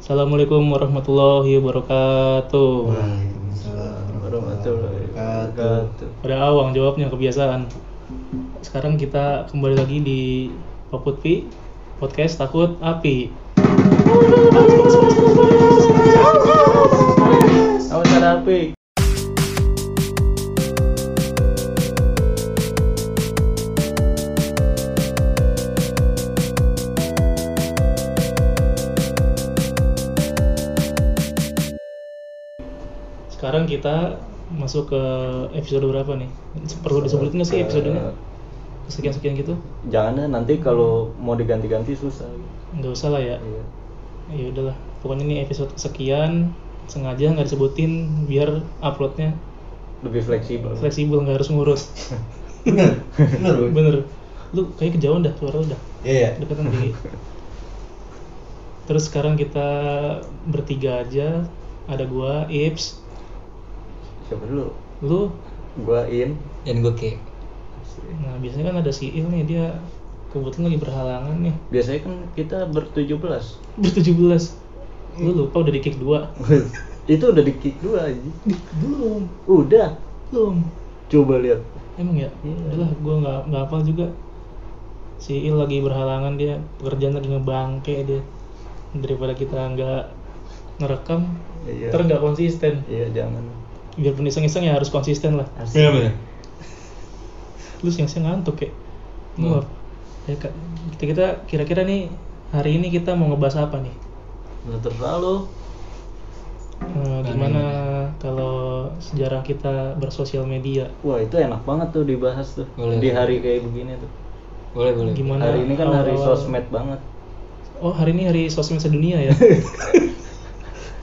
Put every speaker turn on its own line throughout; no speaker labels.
Assalamualaikum warahmatullahi wabarakatuh.
Waalaikumsalam
warahmatullahi
Iya,
wabarakatuh.
Pada awang jawabnya kebiasaan. Sekarang kita kembali lagi di Paputpi Podcast Takut Api.
Awas ada api.
Sekarang kita masuk ke episode berapa nih? Perlu disebutin nggak sih episodenya? Sekian-sekian gitu?
Jangan deh, nanti kalau mau diganti-ganti susah.
Nggak usah lah ya.
Iya.
Ya udahlah. Pokoknya ini episode sekian sengaja nggak disebutin biar uploadnya
Lebih fleksibel.
fleksibel nggak harus ngurus.
Bener, bener Boy.
Bener. Lu kayak kejauhan dah suara lu dah.
Iya, iya.
Deketan dikit. Terus sekarang kita bertiga aja. Ada gua, Ips,
Siapa dulu?
lu.
Gua In.
Dan gue kayak
Nah, biasanya kan ada si Il nih dia kebetulan lagi berhalangan nih.
Biasanya kan kita bertujuh belas.
Ber-17. Lu lupa udah di kick 2.
Itu udah di kick dua aja.
Belum,
Udah.
belum.
Coba lihat.
Emang ya?
Iya.
Udahlah, gua nggak nggak hafal juga. Si Il lagi berhalangan dia, pekerjaan lagi ngebangke dia. Daripada kita nggak ngerekam,
Iya.
ntar nggak konsisten.
Iya jangan.
Biarpun iseng-iseng ya harus konsisten lah.
Asik.
Iya,
Bener bener
lu siang-siang ngantuk ya Lu
Hmm.
Nah.
apa? ya Kak, kita kita kira-kira nih hari ini kita mau ngebahas apa nih
Nah, terserah lu.
Eh, gimana kalau sejarah kita bersosial media
Wah itu enak banget tuh dibahas tuh
Boleh.
di hari kayak begini tuh.
Boleh boleh
gimana
Hari ini kan hari
awal-awal-
sosmed banget.
oh hari ini hari sosmed sedunia ya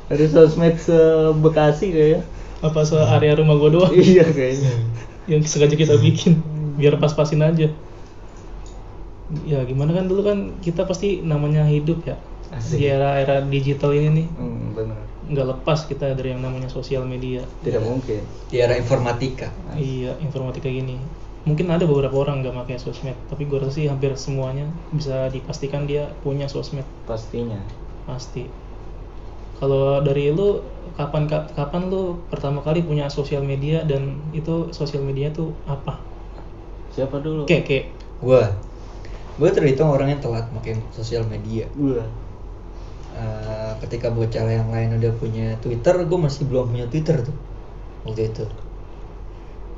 Hari sosmed se Bekasi kayaknya.
apa se area rumah gua doang
iya kayaknya.
yang sengaja kita bikin biar pas-pasin aja ya gimana kan dulu kan kita pasti namanya hidup ya
Asik.
di era-era digital ini nih
Hmm, benar.
nggak lepas kita dari yang namanya sosial media
Tidak mungkin.
Di era informatika
Iya, informatika gini. Mungkin ada beberapa orang nggak pakai sosmed, tapi gue rasa sih hampir semuanya bisa dipastikan dia punya sosmed
Pastinya.
pasti. Kalau dari lu kapan ka- kapan lu pertama kali punya sosial media dan itu sosial media tuh apa?
Siapa dulu?
Oke, oke.
Gua, gue terhitung orang yang telat pakai sosial media
Gua.
Eh, ketika bocah yang lain udah punya twitter gue masih belum punya twitter tuh waktu itu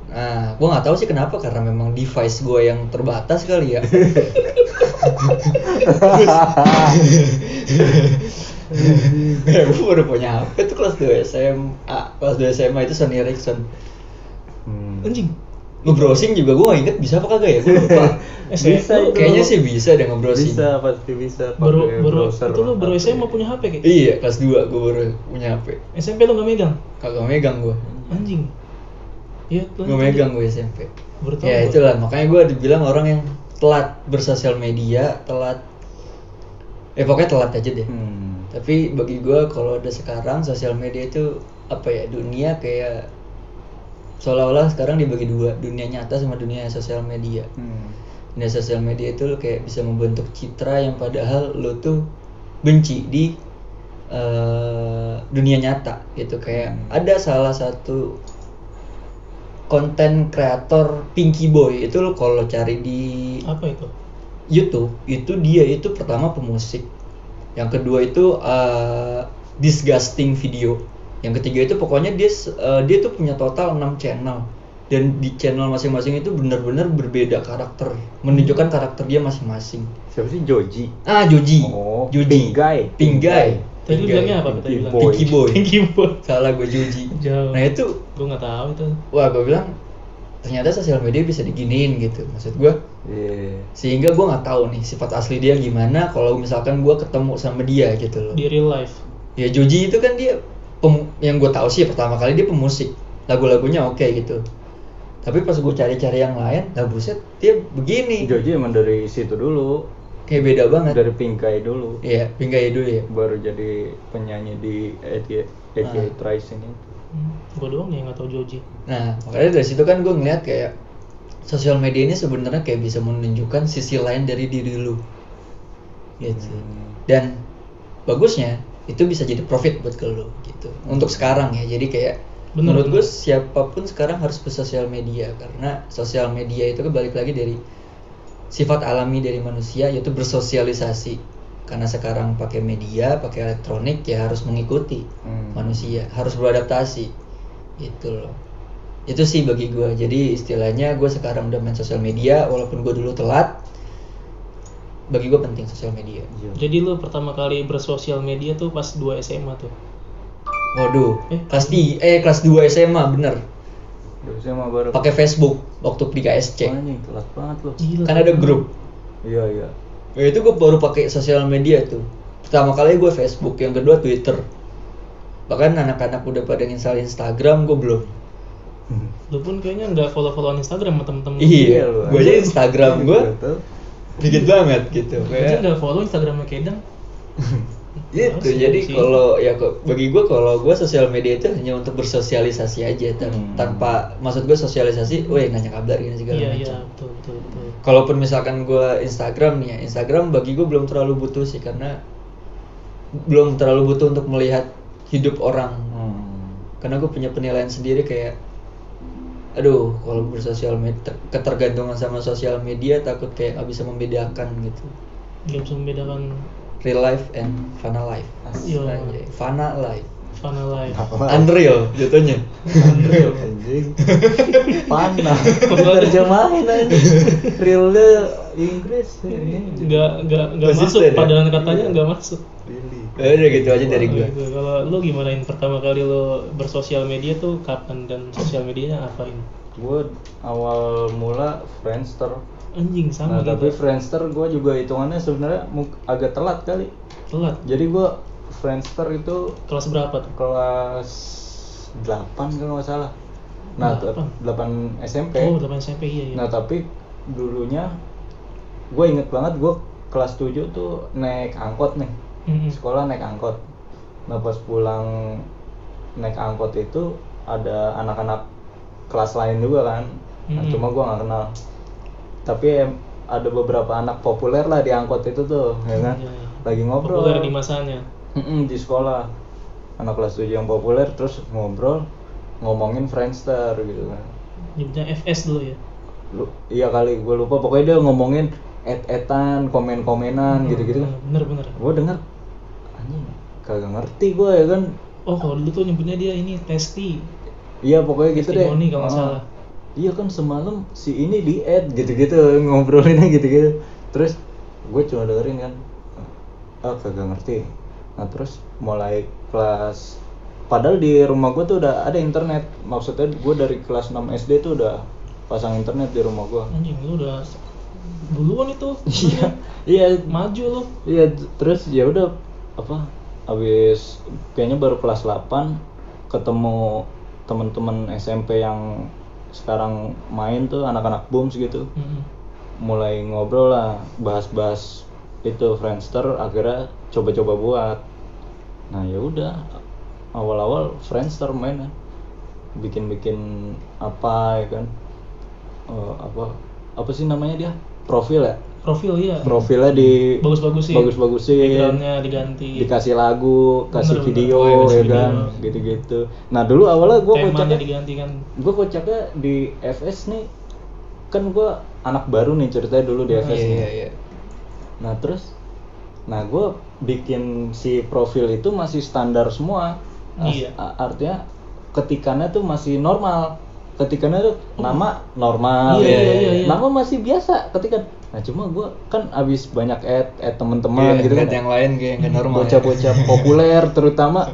nah gue nggak tahu sih kenapa karena memang device gue yang terbatas kali ya ya gue baru punya hp tuh kelas 2 SMA kelas 2 SMA itu Sony Ericsson
Hmm.
Anjing.
gue browsing juga gue gak inget bisa apa kagak ya gue lupa
S-
Bisa
lu
itu.
kayaknya sih bisa deh nge-browsing
Bisa pasti bisa.
Baru
pakai
baru
browser
itu lu baru
HP.
SMA punya HP kayak. gitu?
Iya, kelas 2 gue baru punya HP.
SMP lu nggak megang?
Kagak megang gue.
Anjing. Iya, lu-
Gue megang gue SMP.
Baru tahu
Ya
gua.
itulah, makanya gue dibilang orang yang telat bersosial media, telat Eh pokoknya telat aja deh.
Hmm.
Tapi bagi gue kalau ada sekarang sosial media itu apa ya? Dunia kayak seolah-olah sekarang dibagi dua, dunia nyata sama dunia sosial media.
Hmm.
Dunia sosial media itu lo kayak bisa membentuk citra yang padahal lo tuh benci di eh, dunia nyata gitu kayak
Hmm.
ada salah satu konten kreator Pinky Boy itu lo kalau cari di
Apa itu?
YouTube itu dia itu pertama pemusik yang kedua itu eh, disgusting video yang ketiga itu pokoknya dia s- eh, dia tuh punya total 6 channel dan di channel masing-masing itu benar-benar berbeda karakter menunjukkan karakter dia masing-masing
Siapa sih Joji?
ah Joji
Oh,
Joji
Pinggai.
Pinggai
Tadi lu
Pinggai.
bilangnya apa? Tadi
Pinky
bilang.
Boy.
Pinky Boy
Pinky Boy.
salah gue Joji
Jauh.
nah itu
Gue nggak tahu itu.
wah gue bilang ternyata sosial media bisa diginiin gitu maksud gue
Iya.
sehingga gue nggak tahu nih sifat asli dia gimana kalau misalkan gue ketemu sama dia gitu loh
Di real life.
ya Joji itu kan dia pem- yang gue tahu sih pertama kali dia pemusik lagu-lagunya oke gitu tapi pas gue cari-cari yang lain lah buset dia begini
Joji emang dari situ dulu,
kayak beda banget
dari Pingkai dulu.
Iya, pinggir dulu ya
Baru jadi penyanyi di ATA
Ah.
Trice ini.
Gue Hmm, doang nih yang nggak tahu Joji.
nah makanya dari situ kan gue ngeliat kayak sosial media ini sebenarnya kayak bisa menunjukkan sisi lain dari diri lu gitu
Hmm.
dan bagusnya itu bisa jadi profit buat ke lu gitu untuk sekarang ya jadi kayak
Bener,
menurut
bener.
gue siapapun sekarang harus bersosial media karena sosial media itu kebalik lagi dari sifat alami dari manusia yaitu bersosialisasi karena sekarang pakai media pakai elektronik ya harus mengikuti
Hmm.
manusia harus beradaptasi gitu loh itu sih bagi gue jadi istilahnya gue sekarang udah main sosial media walaupun gue dulu telat bagi gue penting sosial media
Iya.
Jadi lu pertama kali bersosial media tuh pas 2 SMA tuh.
waduh
Eh?
kelas di eh kelas 2 SMA bener
Dulu saya mah baru
pakai Facebook waktu di KSC
Anjing, telat banget loh.
Gila.
kan ada grup
Iya, iya.
ya itu gue baru pakai sosial media tuh pertama kali gue Facebook yang kedua Twitter bahkan anak-anak udah pada install Instagram gue belum
Lu pun kayaknya nggak follow-followan Instagram sama temen-temen. lu.
Iya,
lu. Iya,
gua aja Instagram gua.
Betul.
dikit
Iya.
banget gitu
Aja
kayak
nggak follow Instagramnya Kedang.
gitu
Harus
jadi
sih.
kalau ya kok- bagi gue kalau gue sosial media itu hanya untuk bersosialisasi aja tan-
Hmm.
tanpa maksud gue sosialisasi weh nanya kabar gini segala
Iya iya
macam
betul betul betul.
kalaupun misalkan gue Instagram nih ya Instagram bagi gue belum terlalu butuh sih karena belum terlalu butuh untuk melihat hidup orang
Hmm.
karena gue punya penilaian sendiri kayak aduh kalau bersosial media ketergantungan sama sosial media takut kayak nggak bisa membedakan gitu
Gak bisa membedakan
real life and fana life
kan, yo
Anjay, fana life
fana life.
unreal jatuhnya
Unreal.
Anjing. Panah. Terjemahin aja. Realnya Inggris. ya. ini.
Nggak nggak nggak masuk
Konsisten ya?
padahal katanya nggak masuk.
Really.
Ya udah gitu aja dari gue
Gitu. Kalau lu gimanain pertama kali lu bersosial media tuh kapan dan sosial medianya apain?
Gue awal mula Friendster.
Anjing sama
Nah, tapi
gitu.
Friendster gue juga hitungannya sebenarnya mu- agak telat kali.
Telat.
Jadi gue Friendster itu
Kelas berapa tuh?
kelas 8 kalau nggak salah. Nah,
Delapan.
8 SMP.
Oh, 8 SMP iya iya.
Nah tapi dulunya gue inget banget gue kelas 7 tuh naik angkot nih
Mm-mm.
sekolah naik angkot. Nah pas pulang naik angkot itu ada anak-anak kelas lain juga kan. Nah,
Mm-mm.
Cuma gue nggak kenal. Tapi em- ada beberapa anak populer lah di angkot itu tuh, ya kan?
Iya, iya.
Lagi ngobrol.
Populer di masanya.
Mm-mm, di sekolah anak kelas 7 yang populer terus ngobrol ngomongin Friendster gitu kan
Nyebutnya FS dulu ya.
lu iya kali gue lupa pokoknya dia ngomongin
Mm-hmm.
et-etan komen-komenan gitu-gitu kan
Nah, Bener bener.
gue denger anjing kagak ngerti gue ya kan
Oh, kalau dulu tuh nyebutnya dia ini testi.
iya pokoknya gitu deh
Testimoni kalau nggak
Ah.
salah.
iya kan semalam si ini di add gitu-gitu ngobrolinnya gitu-gitu terus gue cuma dengerin kan ah kagak ngerti nah terus mulai kelas padahal di rumah gue tuh udah ada internet maksudnya gue dari kelas 6 SD tuh udah pasang internet di rumah gue
Anjing lu udah duluan itu.
iya iya
Maju lu.
Iya, t- terus ya udah apa? Habis kayaknya baru kelas 8 ketemu teman-teman SMP yang sekarang main tuh anak-anak booms gitu.
Mm-mm.
Mulai ngobrol lah, bahas-bahas itu Friendster akhirnya coba-coba buat. Nah, ya udah awal-awal Friendster main kan. Bikin-bikin apa ya kan? Eh, apa apa sih namanya dia? Profil ya?
Profil iya.
Profilnya di
Bagus-bagusin.
bagus-bagusin.
Backgroundnya diganti.
dikasih lagu, kasih
Bener,
video,
bener. Oh, iya,
ya
kasih
kan,
video.
gitu-gitu. Nah dulu awalnya gue
Temanya
kocaknya,
diganti kan.
gue kocaknya di FS nih, kan gue anak baru nih ceritanya dulu di
Oh,
FS.
iya
nih.
iya iya
Nah terus, nah gue bikin si profil itu masih standar semua. As-
Iya.
a- artinya ketikannya tuh masih normal. Ketikannya tuh nama normal,
Hmm. Iya, iya, iya, iya.
nama masih biasa ketikan. Nah cuma gue kan abis banyak ad, ad teman-teman
Iya,
gitu kan.
lihat yang lain kayak nggak normal ya.
bocah-bocah populer terutama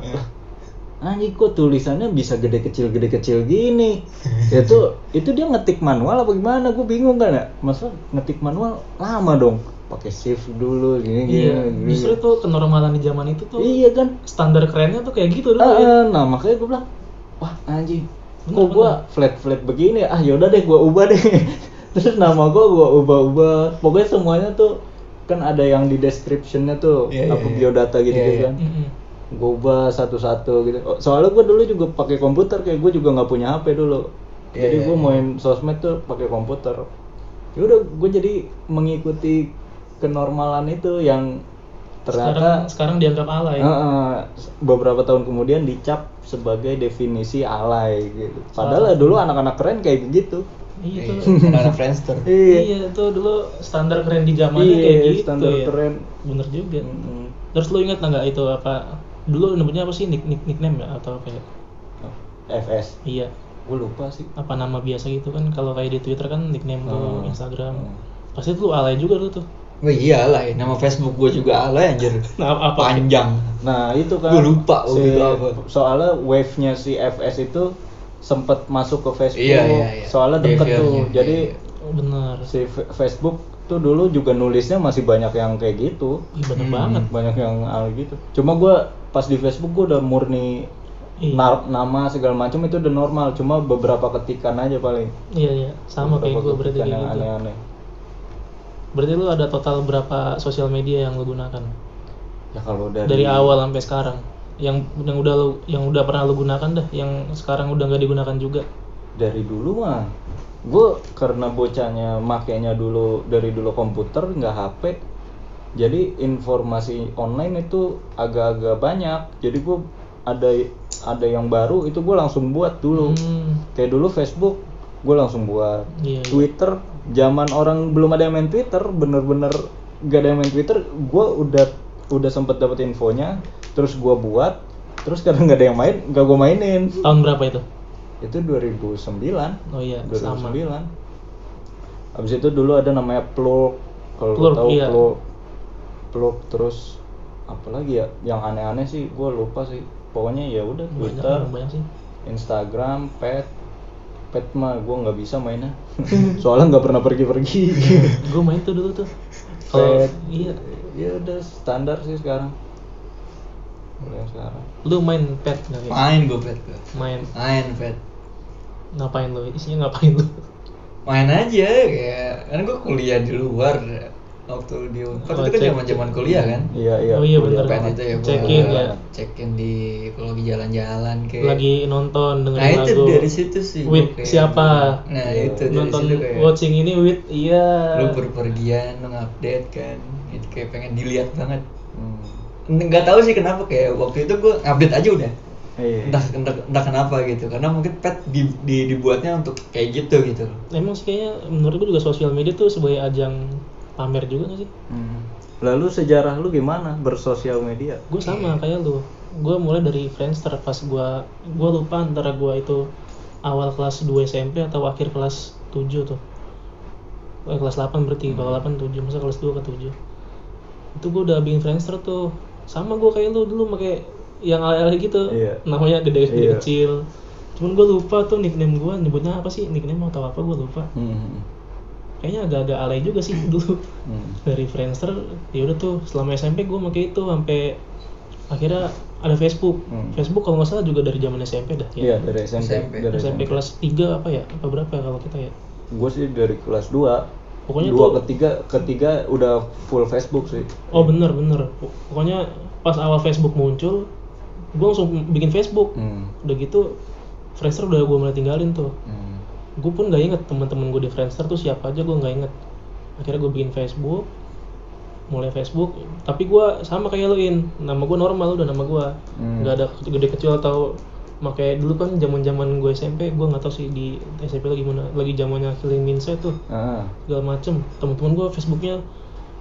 Lah, anjing kok tulisannya bisa gede kecil gede kecil gini itu itu dia ngetik manual apa gimana gue bingung kan ya masa ngetik manual lama dong pakai shift dulu gini gini,
Iya,
gini,
justru
gini.
tuh kenormalan di zaman itu tuh
iya kan
standar kerennya tuh kayak gitu dulu
Ah,
iya.
ya.
ah, nah makanya gue bilang wah anjing
Bener,
kok gue flat flat begini ah yaudah deh gue ubah deh terus nama gue gue ubah ubah pokoknya semuanya tuh kan ada yang di descriptionnya tuh
Iya, iya,
apa
iya.
biodata gitu
Iya, iya.
kan
Mm-mm.
gue ubah satu-satu gitu Oh, soalnya gue dulu juga pakai komputer kayak gue juga nggak punya hp dulu
Iya,
jadi
iya,
gue
iya.
main sosmed tuh pakai komputer ya udah gue jadi mengikuti kenormalan itu yang ternyata
sekarang, sekarang dianggap alay
Heeh, beberapa tahun kemudian dicap sebagai definisi alay gitu.
Salah.
Padahal dulu anak-anak keren kayak gitu. begitu.
iya
Iya,
tuh
anak Friendster.
iya tuh dulu standar keren di zamannya
Iya,
kayak gitu
standar
ya. Iya.
keren. Hmm.
bener juga
Mm-mm.
terus lu ingat nggak itu apa dulu nyebutnya apa sih nick, nick- nickname ya atau apa ya
FS.
iya
Gue lupa sih.
apa nama biasa gitu kan kalau kayak di Twitter kan nickname
Oh.
tuh Instagram
Oh.
pasti lu alay juga lu tuh
Wah iya alay, nama Facebook gua juga alay anjir.
nah, apa
Panjang.
Nah, itu kan.
Gua lupa waktu itu
si-
apa.
Soalnya wave-nya si FS itu sempet masuk ke Facebook.
Iya, iya, iya.
Oh, Soalnya deket
Behavior-nya,
tuh.
iya,
Jadi
iya.
bener
si F- Facebook tuh dulu juga nulisnya masih banyak yang kayak gitu.
Ih, bener
Hmm.
banget
Banyak yang al gitu. Cuma gua pas di Facebook gua udah murni
iya
Nar- nama segala macam itu udah normal cuma beberapa ketikan aja paling
iya iya sama kayak gue
Beberapa
berarti
ketikan
kayak
yang
gitu
aneh-aneh
berarti lu ada total berapa sosial media yang lu gunakan
ya kalau dari,
dari awal sampai sekarang yang yang udah lu yang udah pernah lu gunakan dah yang sekarang udah nggak digunakan juga
dari dulu mah gue karena bocahnya makainya dulu dari dulu komputer nggak HP jadi informasi online itu agak-agak banyak jadi gue ada ada yang baru itu gue langsung buat dulu
Hmm,
kayak dulu Facebook gue langsung buat
iya, iya.
Twitter zaman orang belum ada yang main Twitter bener-bener gak ada yang main Twitter gue udah udah sempet dapet infonya terus gue buat terus karena nggak ada yang main gak gue mainin
tahun berapa itu
itu 2009
oh iya
2009
sama
abis itu dulu ada namanya Plurk kalau lo
Plurk,
tahu
iya.
Plurk Plurk terus apalagi ya yang aneh-aneh sih gue lupa sih pokoknya ya udah
banyak
Twitter
orang banyak sih
Instagram, pet, pet mah gue nggak bisa mainnya, soalnya nggak pernah pergi-pergi.
gue main tuh dulu tuh kalau
Fet.
iya
ya udah standar sih sekarang. Kalau yang sekarang.
lu main pet nggak kayak
Main gua pet gua.
main
Main pet.
ngapain lu isinya ngapain lu
Main aja ya. Kan gua kuliah di luar waktu di Unpad
Oh,
itu kan
cek.
zaman-zaman kuliah kan.
Iya iya.
Oh iya,
kuliah.
bener.
Pet itu ya gua
Check-in ya.
Check-in di kalau lagi jalan-jalan kayak.
lagi nonton dengan
nah itu
lagu
dari situ sih. gua
With
kayak-
siapa?
Nah
Iya.
itu dari
nonton
situ kayak.
watching ini with iya
Lu berpergian, lu update kan. Itu kayak pengen dilihat banget.
Hmm.
nggak tahu sih kenapa kayak waktu itu gue update aja udah
Iya.
entah, entah, entah kenapa gitu karena mungkin pet di- di- dibuatnya untuk kayak gitu gitu loh.
emang sih kayaknya menurut gue juga sosial media tuh sebagai ajang pamer juga gak sih
Hmm. Lalu sejarah lu gimana bersosial media?
gue sama kayak lu gue mulai dari Friendster pas gue gue lupa antara gue itu awal kelas 2 SMP atau akhir kelas 7 tuh Eh, kelas 8
Hmm.
berarti kalau 8 7 masa kelas 2 ke 7 itu gue udah bikin Friendster tuh sama gue kayak lu dulu pakai yang alay-alay gitu
Iya.
namanya gede-gede
Iya.
kecil cuman gue lupa tuh nickname gue nyebutnya apa sih nickname atau apa gue lupa
Hmm.
kayaknya agak-agak alay juga sih dulu
Hmm.
dari Friendster ya udah tuh selama SMP gue pakai itu sampai akhirnya ada Facebook
Hmm.
Facebook kalau nggak salah juga dari zaman SMP dah ya
Iya dari SMP.
SMP.
Dari
SMP kelas 3 apa ya apa berapa ya kalau kita
Iya.
ya
Gue sih dari kelas 2
pokoknya
dua
tuh
ketiga ketiga udah full Facebook sih.
oh bener bener pokoknya pas awal Facebook muncul gue langsung bikin Facebook
Hmm.
udah gitu Friendster udah gue mulai tinggalin tuh
Hmm.
gue pun nggak inget teman-teman gue di Friendster tuh siapa aja gue nggak inget akhirnya gue bikin Facebook mulai Facebook tapi gue sama kayak lu in nama gue normal udah nama gue
Hmm.
nggak ada gede kecil atau makanya dulu kan zaman zaman gue SMP gue nggak tahu sih di SMP lagi mana lagi zamannya Killing Minse tuh
Ah.
segala macem teman-teman gue Facebooknya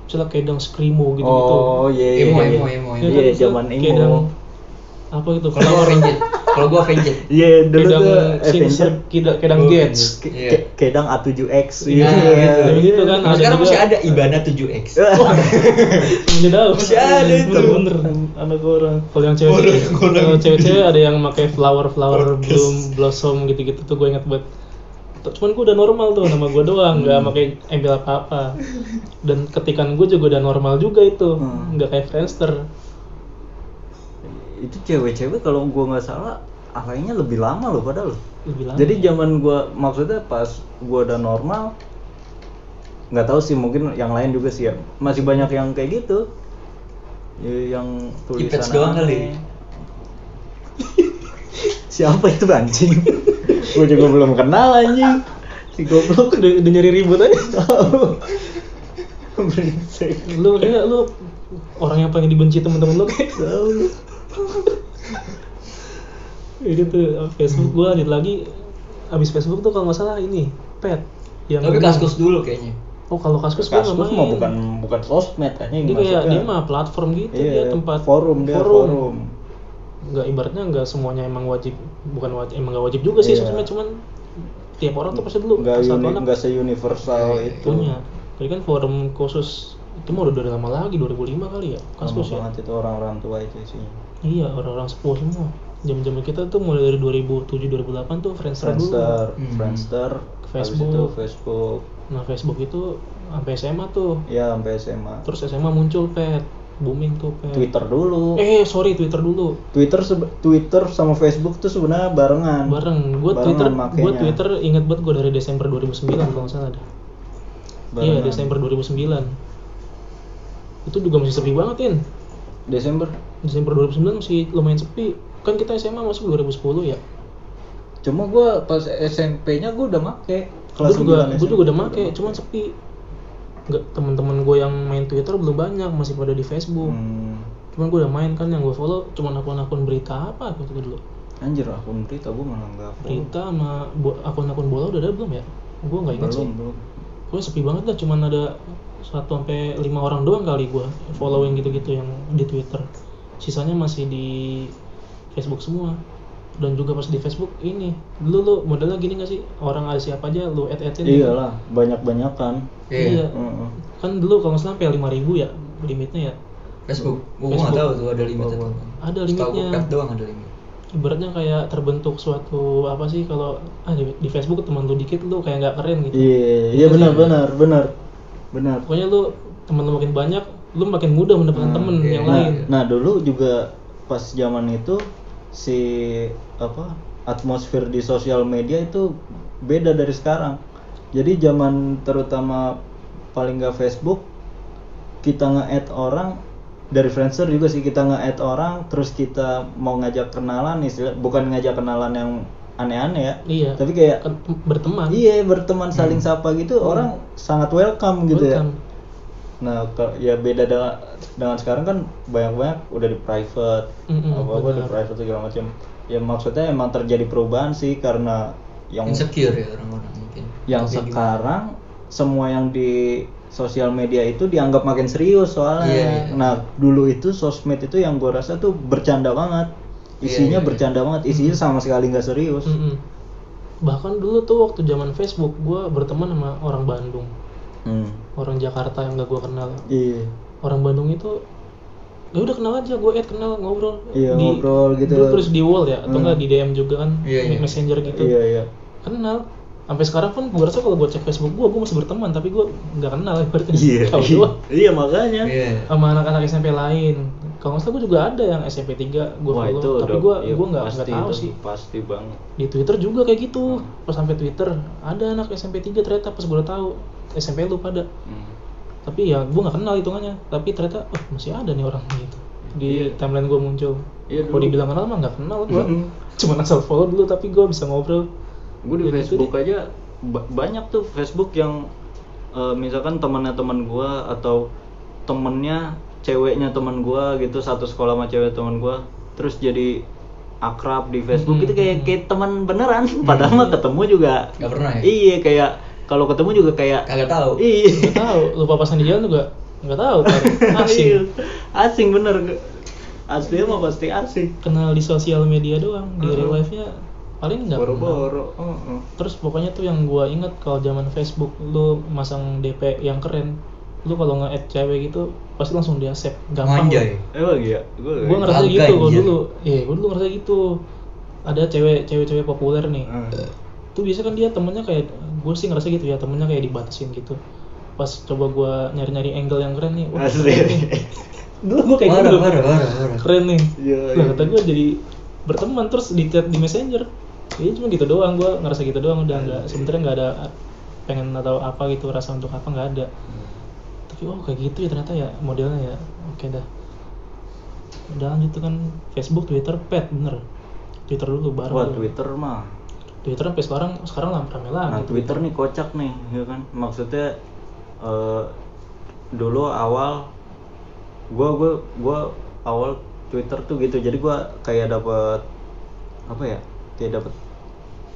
misalnya kayak dang screamo gitu gitu
Oh iya.
Emo,
iya,
emo,
iya.
emo, emo.
Iya, zaman
kayak
emo.
dang apa gitu
Kalau gue Avenged, kalau gue Avenged.
Iya dulu
kedang
tuh Avenger
Avenger kedang
Oh,
Gates
ke-
Iya.
ke- kedang A7X
Iya, gitu.
gitu kan.
Nah,
ada
sekarang
juga-
masih ada Ibana 7X.
Iya.
Ini tahu.
Masih ada itu.
Bener, anak orang. Kalau yang cewek,
Orang-orang
kalau cewek-cewek ada yang pakai flower flower
Podcast.
bloom blossom gitu-gitu tuh gue ingat banget. Tuh, Cuman gue udah normal tuh nama gue doang, nggak pakai embel apa-apa. Dan ketikan gue juga udah normal juga itu,
Hmm.
nggak kayak Friendster.
Itu cewek-cewek kalau gua nggak salah alainya lebih lama loh padahal. loh.
Lebih lama.
Jadi zaman gua maksudnya pas gua udah normal nggak tahu sih mungkin yang lain juga sih ya. Masih banyak yang kayak gitu. Ya, yang tulisan
Ipets doang
aneh.
kali.
Siapa itu anjing? gua juga belum kenal anjing. Si goblok udah, udah nyari ribut aja. Brengsek.
lu kayaknya lu orang yang paling dibenci temen-temen lo kayak tahu lu. Ya gitu Facebook gue lanjut lagi abis Facebook tuh kalau nggak salah ini pet yang
Tapi kaskus dulu kayaknya.
oh kalau kaskus gue nggak
Kaskus
main
mah bukan bukan sosmed anjing
dia kayak
maksudnya.
dia mah platform gitu dia
Iya,
tempat
forum dia forum.
nggak ibaratnya nggak semuanya emang wajib bukan wajib emang nggak wajib juga sih
Iya.
sosmed cuman tiap orang tuh pasti dulu
Enggak
satu
uni,
anak
enggak seuniversal itu.
Eh, punya tapi kan forum khusus itu mah udah dari lama lagi 2005 kali ya
Lama
kasus ya
banget itu orang-orang tua itu isinya.
iya orang-orang sepuh semua jam-jam kita tuh mulai dari 2007 2008 tuh Friendster dulu
Friendster,
Hmm.
Friendster, habis
Facebook.
itu Facebook.
nah Facebook itu sampai SMA tuh
Ya sampai SMA.
terus SMA muncul pet booming tuh pet
Twitter dulu.
eh sorry Twitter dulu
Twitter sebe- Twitter sama Facebook tuh sebenarnya barengan.
bareng gue
Barengan
Twitter gue
makainya.
Twitter iya, inget banget gue dari Desember 2009 kalau nggak salah dah iya
Barengan.
Desember 2009 itu juga masih sepi banget Tin
Desember.
Desember 2009 masih lumayan sepi kan kita SMA masuk 2010 ya
Cuma gua pas SMP-nya gua udah make
gue juga
9
gue
SMP.
juga udah make cuman sepi nggak teman-teman gue yang main Twitter belum banyak masih pada di Facebook
Hmm.
cuman gue udah main kan yang gue follow cuman akun-akun berita apa gitu dulu
Anjir akun berita gua malah enggak
berita sama bo- akun-akun bola udah ada belum ya gue nggak ingat sih
Hmm. Belum, belum.
gue sepi banget dah cuman ada satu sampai lima orang doang kali gue following gitu-gitu yang di Twitter sisanya masih di Facebook semua dan juga pas di Facebook ini dulu lu modelnya gini gak sih orang ada siapa aja lu add addin
Iyalah, banyak-banyakan.
iya
Heeh.
kan dulu kalau nggak salah sampai lima ribu ya limitnya ya
Facebook, gua nggak
Facebook.
tahu tuh ada limit atau
ada
Tahu gua
limitnya
pet doang ada limit.
ibaratnya kayak terbentuk suatu apa sih kalau ah di, di Facebook teman lu dikit lu kayak nggak keren gitu
Iya, iya benar benar benar. Benar.
pokoknya lu teman lu makin banyak lu makin mudah mendapatkan
Hmm,
temen
iya,
yang
iya.
lain
Nah, dulu juga pas zaman itu si apa? Atmosfer di sosial media itu beda dari sekarang. Jadi zaman terutama paling nggak Facebook kita nge-add orang dari Friendster juga sih kita nge-add orang terus kita mau ngajak kenalan istilah bukan ngajak kenalan yang aneh-aneh ya
iya
tapi kayak
Kan tem- berteman Hmm.
iya berteman saling sapa gitu orang sangat welcome gitu ya
Welcome.
Nah, ke- ya beda dengan, dengan sekarang kan banyak-banyak udah di private,
Mm-mm,
apa-apa di
benar.
private segala macam. Ya maksudnya emang terjadi perubahan sih karena yang
Insecure ya orang-orang mungkin. gitu.
yang
Tapi
sekarang semua yang di sosial media itu dianggap makin serius soalnya.
Iya, iya.
Nah, dulu itu sosmed itu yang gua rasa tuh bercanda banget. Isinya
iya, iya.
bercanda banget, isinya sama sekali nggak serius.
Mm-mm. bahkan dulu tuh waktu zaman Facebook gue berteman sama orang Bandung
Hmm.
orang Jakarta yang gak gue kenal
Iya.
orang Bandung itu ya udah kenal aja gue add kenal ngobrol Di-
Iya, ngobrol gitu.
dulu terus di wall ya atau
Hmm.
enggak di DM juga kan
Iya, iya.
messenger gitu
Iya, iya.
kenal sampai sekarang pun gue rasa kalau gue cek Facebook gue gue masih berteman tapi gue nggak kenal ibaratnya
Iya.
Tahu doang.
Iya, makanya.
Iya.
sama anak-anak SMP lain kalau nggak salah gue juga ada yang SMP 3 gue
Wah, itu
follow tapi
udah-
gue
iya,
gue nggak nggak
pasti
tahu
itu,
sih
Pasti banget.
di Twitter juga kayak gitu pas sampai Twitter ada anak SMP 3 ternyata pas gue udah tahu SMP lu pada
Hmm.
tapi ya gue nggak kenal hitungannya tapi ternyata oh, masih ada nih orang gitu di
Iya.
timeline gue muncul
Iya,
kalau
dulu.
dibilang kenal mah nggak kenal gue
Mm-mm.
cuma asal follow dulu tapi gue bisa ngobrol
gue di
Ya, gitu
Facebook aja ba- banyak tuh Facebook yang eh, misalkan temannya teman gue atau temennya ceweknya teman gue gitu satu sekolah sama cewek teman gue terus jadi akrab di Facebook
Hmm.
itu kayak kayak teman beneran padahal mah ketemu juga
Nggak pernah
Eh.
ya?
iya kayak kalau ketemu juga kayak
Kagak tahu.
iya
nggak tahu lu papasan di jalan juga nggak tahu kan
Iya.
asing
asing bener asli mah pasti asing
kenal di sosial media doang di
Mm-mm.
real life nya paling nggak kenal.
boro-boro Heeh.
terus pokoknya tuh yang gue inget kalau zaman Facebook lu masang DP yang keren lu kalau nge-add cewek gitu pasti langsung di accept gampang
Manjay.
emang ya
gue ngerasa
Bangga,
gitu gue
anjir.
dulu iya gue dulu ngerasa gitu ada cewek cewek cewek populer nih
Hmm.
tuh biasa kan dia temennya kayak gue sih ngerasa gitu ya temennya kayak dibatasin gitu pas coba gue nyari nyari angle yang keren nih wah keren nih.
Ah. asli
dulu gue kayak
Parah,
gitu
parah, parah, parah.
keren nih
Iya,
nah
iya.
kata gue jadi berteman terus di chat di messenger ya cuma gitu doang gue ngerasa gitu doang
Iya,
udah nggak sebenarnya nggak ada pengen atau apa gitu rasa untuk apa nggak ada tapi oh kayak gitu ya ternyata ya modelnya ya oke dah udah lanjut tuh kan Facebook Twitter pet bener Twitter dulu baru
Wah
tuh.
Twitter mah.
Twitter sampai sekarang sekarang lah rame lagi
Nah
tuh.
Twitter nih kocak nih, ya kan? Maksudnya eh, dulu awal gua gua gua awal Twitter tuh gitu jadi gua kayak dapat apa ya kayak dapat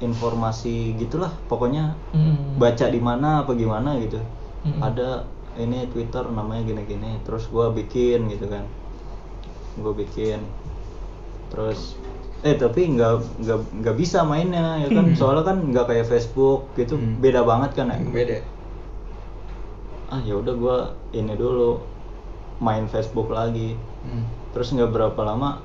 informasi gitulah pokoknya
Mm.
baca di mana apa gimana gitu
Mm-mm.
ada ini Twitter namanya gini-gini terus gua bikin gitu kan gue bikin terus eh tapi nggak nggak nggak bisa mainnya ya kan soalnya kan nggak kayak Facebook gitu
Hmm.
beda banget kan ya
Beda.
ah ya udah gue ini dulu main Facebook lagi
Hmm.
terus nggak berapa lama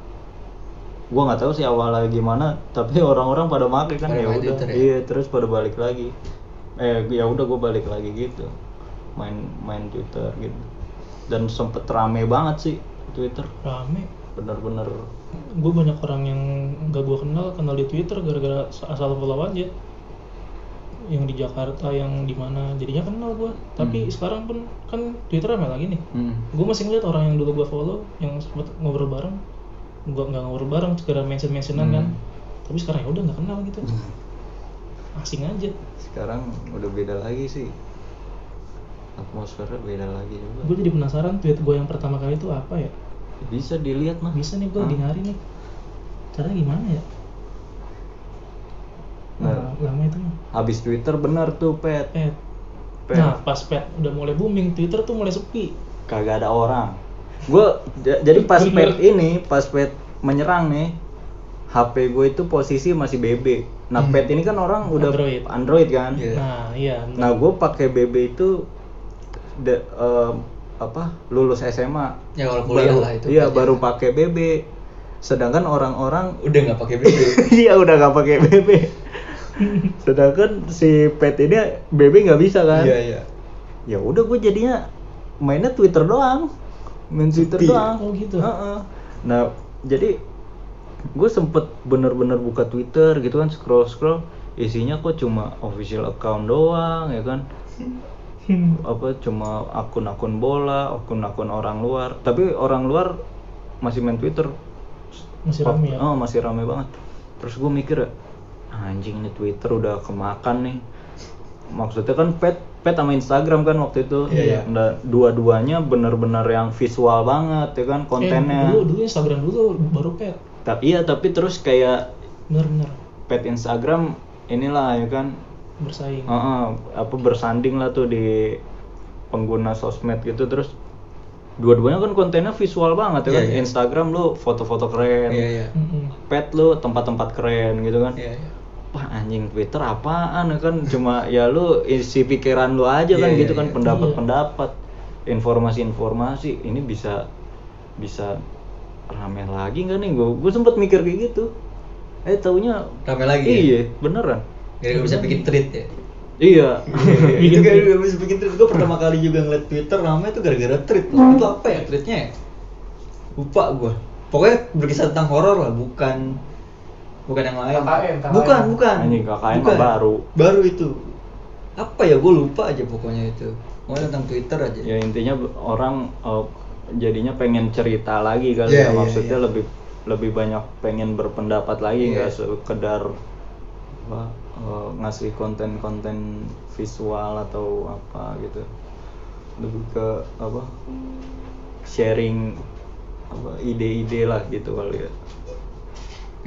gue nggak tahu sih awalnya gimana tapi orang-orang pada make kan
Pada
ya
main
udah
Twitter ya?
iya terus pada balik lagi eh ya udah gue balik lagi gitu main main Twitter gitu dan sempet rame banget sih Twitter
rame
bener-bener
gue banyak orang yang gak gue kenal kenal di twitter gara-gara asal follow aja yang di Jakarta yang di mana jadinya kenal gue tapi sekarang pun kan twitter rame lagi nih
hmm.
gue masih ngeliat orang yang dulu gue follow yang sempet ngobrol bareng gue nggak ngobrol bareng segera mention mentionan kan tapi sekarang ya udah nggak kenal gitu asing aja
sekarang udah beda lagi sih atmosfernya beda lagi juga
gue jadi penasaran tweet gue yang pertama kali itu apa ya
bisa dilihat mah
bisa nih gue di
Hah?
nyari nih caranya gimana ya
Nah.
nah, lama itu mah.
habis Twitter bener tuh pet
pet
Pet.
nah pas pet udah mulai booming twitter tuh mulai sepi
kagak ada orang gue jadi pas pet
Bener.
ini pas pet menyerang nih HP gue itu posisi masih BB nah pet ini kan orang udah
Hmm. Android.
kan
Iya.
nah iya bener.
nah gue pakai BB itu de- em, apa lulus SMA
Ya kalau kuliah
Baru-
lah itu.
iya
pelajaran.
baru pakai BB sedangkan orang-orang
Udah nggak pakai BB.
Iya udah nggak pakai BB. Sedangkan si Pet ini BB nggak bisa kan?
Iya iya.
Ya udah gue jadinya mainnya Twitter doang, main Twitter
Sepi ya?
doang.
Oh, gitu.
Heeh. Nah jadi gue sempet bener-bener buka Twitter gitu kan scroll scroll isinya kok cuma official account doang ya kan
Hmm.
apa cuma akun-akun bola akun-akun orang luar tapi orang luar masih main Twitter
masih rame ya
Oh, masih rame banget. Terus gue mikir, anjing nih Twitter udah kemakan nih. Maksudnya kan pet pet sama Instagram kan waktu itu.
Iya, iya.
Nah, dua-duanya bener-bener yang visual banget ya kan
Eh,
kontennya.
dulu dulu Instagram dulu baru pet
Ta- iya, tapi terus kayak
bener-bener
pet Instagram inilah ya kan
bersaing
Heeh, apa bersanding lah tuh di pengguna sosmed gitu terus dua-duanya kan kontennya visual banget ya
Iya,
kan
iya.
Instagram lu foto-foto keren
Iya iya.
Mm-mm.
pet lu tempat-tempat keren gitu kan
Iya iya.
wah anjing Twitter apaan ya kan cuma ya lu isi pikiran lu aja kan
Iya,
gitu
iya,
kan
iya.
pendapat-pendapat informasi-informasi ini bisa bisa rame lagi nggak nih gue gue sempet mikir kayak gitu eh taunya
Rame lagi. ya?
iya beneran
Gak bisa bikin tweet ya.
iya
itu kan gak bisa bikin tweet. Gue pertama kali juga ngeliat Twitter namanya tuh gara-gara tweet. Lah, Itu apa ya tweetnya? ya? Lupa gue. Pokoknya berkisah tentang horor lah, bukan bukan yang lain.
KKN, KKN.
Bukan bukan.
Anjing, KKN mah baru.
Baru itu. Apa ya gue lupa aja pokoknya itu. Pokoknya tentang Twitter aja.
ya intinya be- orang eh, jadinya pengen cerita lagi kali
Iya, iya,
ya
iya.
maksudnya lebih lebih banyak pengen berpendapat
Iya.
lagi nggak sekedar apa, eh, ngasih konten-konten visual atau apa gitu lebih ke apa sharing apa ide-ide lah gitu kali ya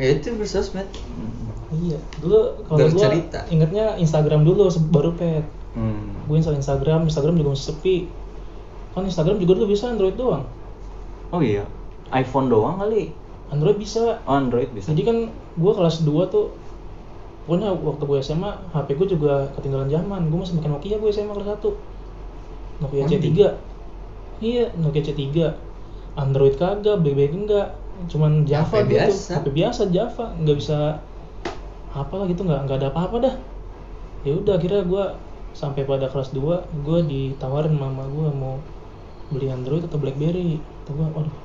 Ya itu bersosmed.
Hmm.
iya dulu kalau gue
Bercerita.
ingetnya Instagram dulu se- baru pet
Hmm.
gue install Instagram Instagram juga masih sepi kan Instagram juga dulu bisa Android doang
oh iya iPhone doang kali
Android bisa
Oh, Android bisa
jadi kan gue kelas 2 tuh pokoknya waktu gue SMA HP gue juga ketinggalan zaman gue masih pakai Nokia gue SMA kelas 1 Nokia C3 iya Nokia C3 Android kagak BlackBerry enggak cuman Java
HP
gitu
biasa.
HP biasa Java nggak bisa apa lah gitu nggak nggak ada apa-apa dah ya udah akhirnya gue sampai pada kelas 2 gue ditawarin mama gue mau beli Android atau BlackBerry kata gue waduh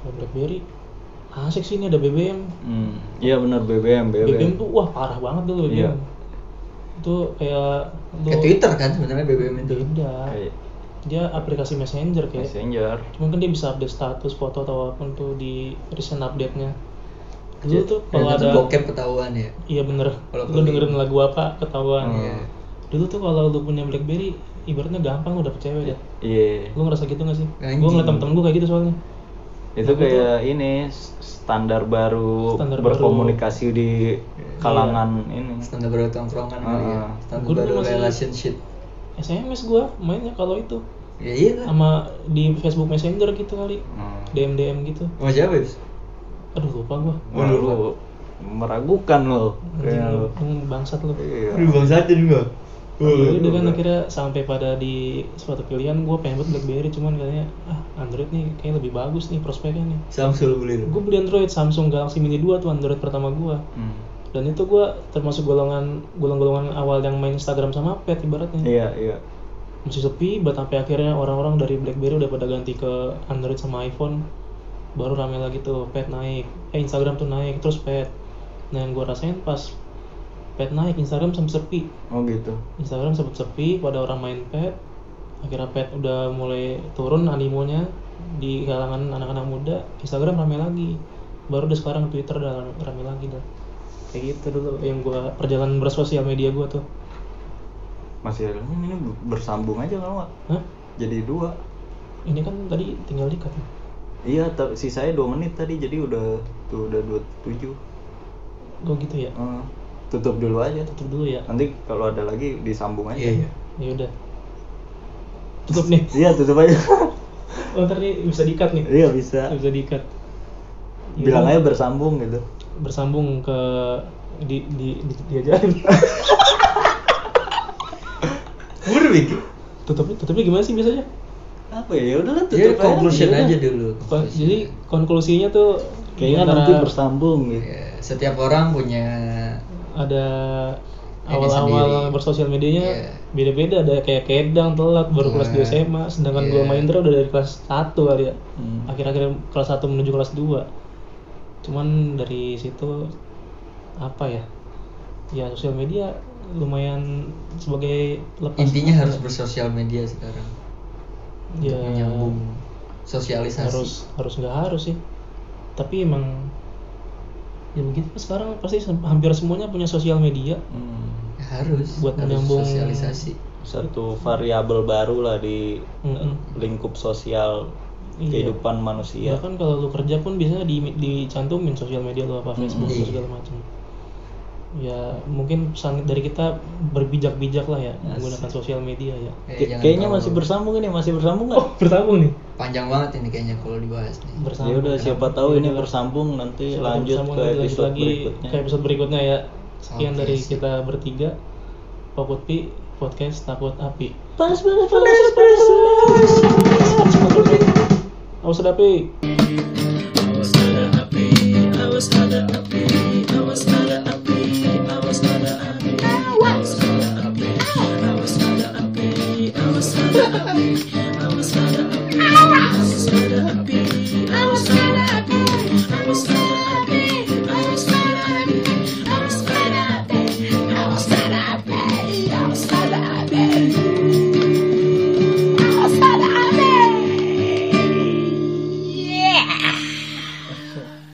kalau BlackBerry asik sih ini ada BBM
Hmm. iya benar BBM BBM,
BBM tuh wah parah banget dulu BBM.
Iya.
Itu kayak lu
Kayak Twitter kan sebenarnya BBM itu.
beda.
Kayak
Dia aplikasi messenger kayak.
Messenger
Cuman kan dia bisa update status foto atau apapun tuh di recent update-nya. Dulu tuh
Dan
kalau
Iya. itu
ada
bokep ketahuan ya.
iya bener
Kalau
lu
pergi.
dengerin lagu apa ketahuan.
Iya.
dulu tuh kalau lu punya BlackBerry ibaratnya gampang lu dapet cewek ya.
Iya.
Lu ngerasa gitu gak sih?
Anjing.
Gue ngeliat temen-temen gue kayak gitu soalnya.
Itu kayak ini s- standar baru
Standar baru.
berkomunikasi di kalangan ini.
standar baru tongkrongan kali ya
Ah.
standar
Gua dulu
baru
masih-
relationship
SMS gue mainnya kalau itu
ya iya lah
sama di Facebook Messenger gitu kali.
Hmm.
DM DM gitu.
sama siapa ya
Aduh lupa gue.
Wah, lu meragukan lo. Kayak lu.
bangsat lu.
Iya.
Aduh bang Satin gua
Dulu udah kan akhirnya sampai pada di suatu pilihan gue pengen buat BlackBerry cuman katanya ah Android nih kayaknya lebih bagus nih prospeknya nih.
Samsul beli lu
Gue beli Android Samsung Galaxy Mini 2 tuh Android pertama gue
Hmm.
dan itu gue termasuk golongan golongan-golongan awal yang main Instagram sama pet ibaratnya
Iya, iya.
masih sepi buat sampai akhirnya orang-orang dari BlackBerry udah pada ganti ke Android sama iPhone baru rame lagi tuh pet naik eh Instagram tuh naik terus pet nah yang gue rasain pas pet naik Instagram sempet sepi
Oh gitu.
Instagram sempet sepi pada orang main pet akhirnya pet udah mulai turun animonya di kalangan anak-anak muda Instagram rame lagi baru udah sekarang Twitter udah rame lagi dah kayak gitu dulu yang gua perjalanan bersosial media gua tuh
Masih ada- ini bersambung aja kalau nggak.
Hah?
Jadi dua.
ini kan tadi tinggal dikat ya?
Iya, tapi sisanya dua menit tadi jadi udah tuh udah dua tujuh.
gua gitu ya
tutup dulu aja.
tutup dulu ya
Nanti kalau ada lagi disambung aja.
iya iya
ya udah tutup nih
Iya, tutup aja.
oh ntar nih bisa dikat nih
Iya bisa.
bisa dikat Ya
Bilang
udah,
aja bersambung gitu.
bersambung ke di di, di, diajarin
Gua udah bikin
tutupnya tutupnya gimana sih biasanya
Apa ya? Ya udahlah tutup
Jadi
aja. gitu.
conclusion
iya.
aja dulu
Kon- jadi konklusinya tuh
Iya,
Kayaknya kan
antara Iya.
nanti bersambung gitu.
Ya, setiap orang punya
ada
Ini
awal-awal
sendiri.
bersosial medianya
Iya.
beda-beda ada kayak kedang telat baru kelas
Nah,
2 SMA sedangkan gua
iya.
main drum udah dari kelas 1 kali ya
Hmm.
akhir-akhir kelas 1 menuju kelas 2 cuman dari situ apa ya ya sosial media lumayan sebagai lepas
intinya harus bersosial media sekarang
ya
menyambung sosialisasi
harus harus nggak harus sih tapi emang ya begitu sekarang pasti sem- hampir semuanya punya sosial media
Hmm.
harus
Buat
harus
menyambung-
sosialisasi
Satu variabel baru lah di
Mm-mm.
lingkup sosial
Hmm. Iya.
kehidupan iya. manusia.
bahkan kalau lu kerja pun biasanya di, dicantumin sosial media lu
Hmm.
apa Facebook
Iya.
Mm-mm.
lu segala macam ya mungkin pesan dari kita berbijak-bijak lah ya menggunakan sosial media ya
Eh,
Kay-
jangan
kayaknya
terlalu-
masih bersambung ini, masih bersambung nggak?
Oh, bersambung nih
panjang banget ini kayaknya kalau dibahas nih
bersambung Iya,
ya udah siapa tahu ini
Yaudah.
bersambung nanti
Siapa
lanjut
bersambung,
ke
nanti lanjut
episode
lagi
berikutnya.
ke episode berikutnya ya sekian
Oke,
dari
sip.
kita bertiga Pokut Pi podcast takut api
Panas panas panas panas.
awas ada api
I was not happy. I was not happy. I was not happy.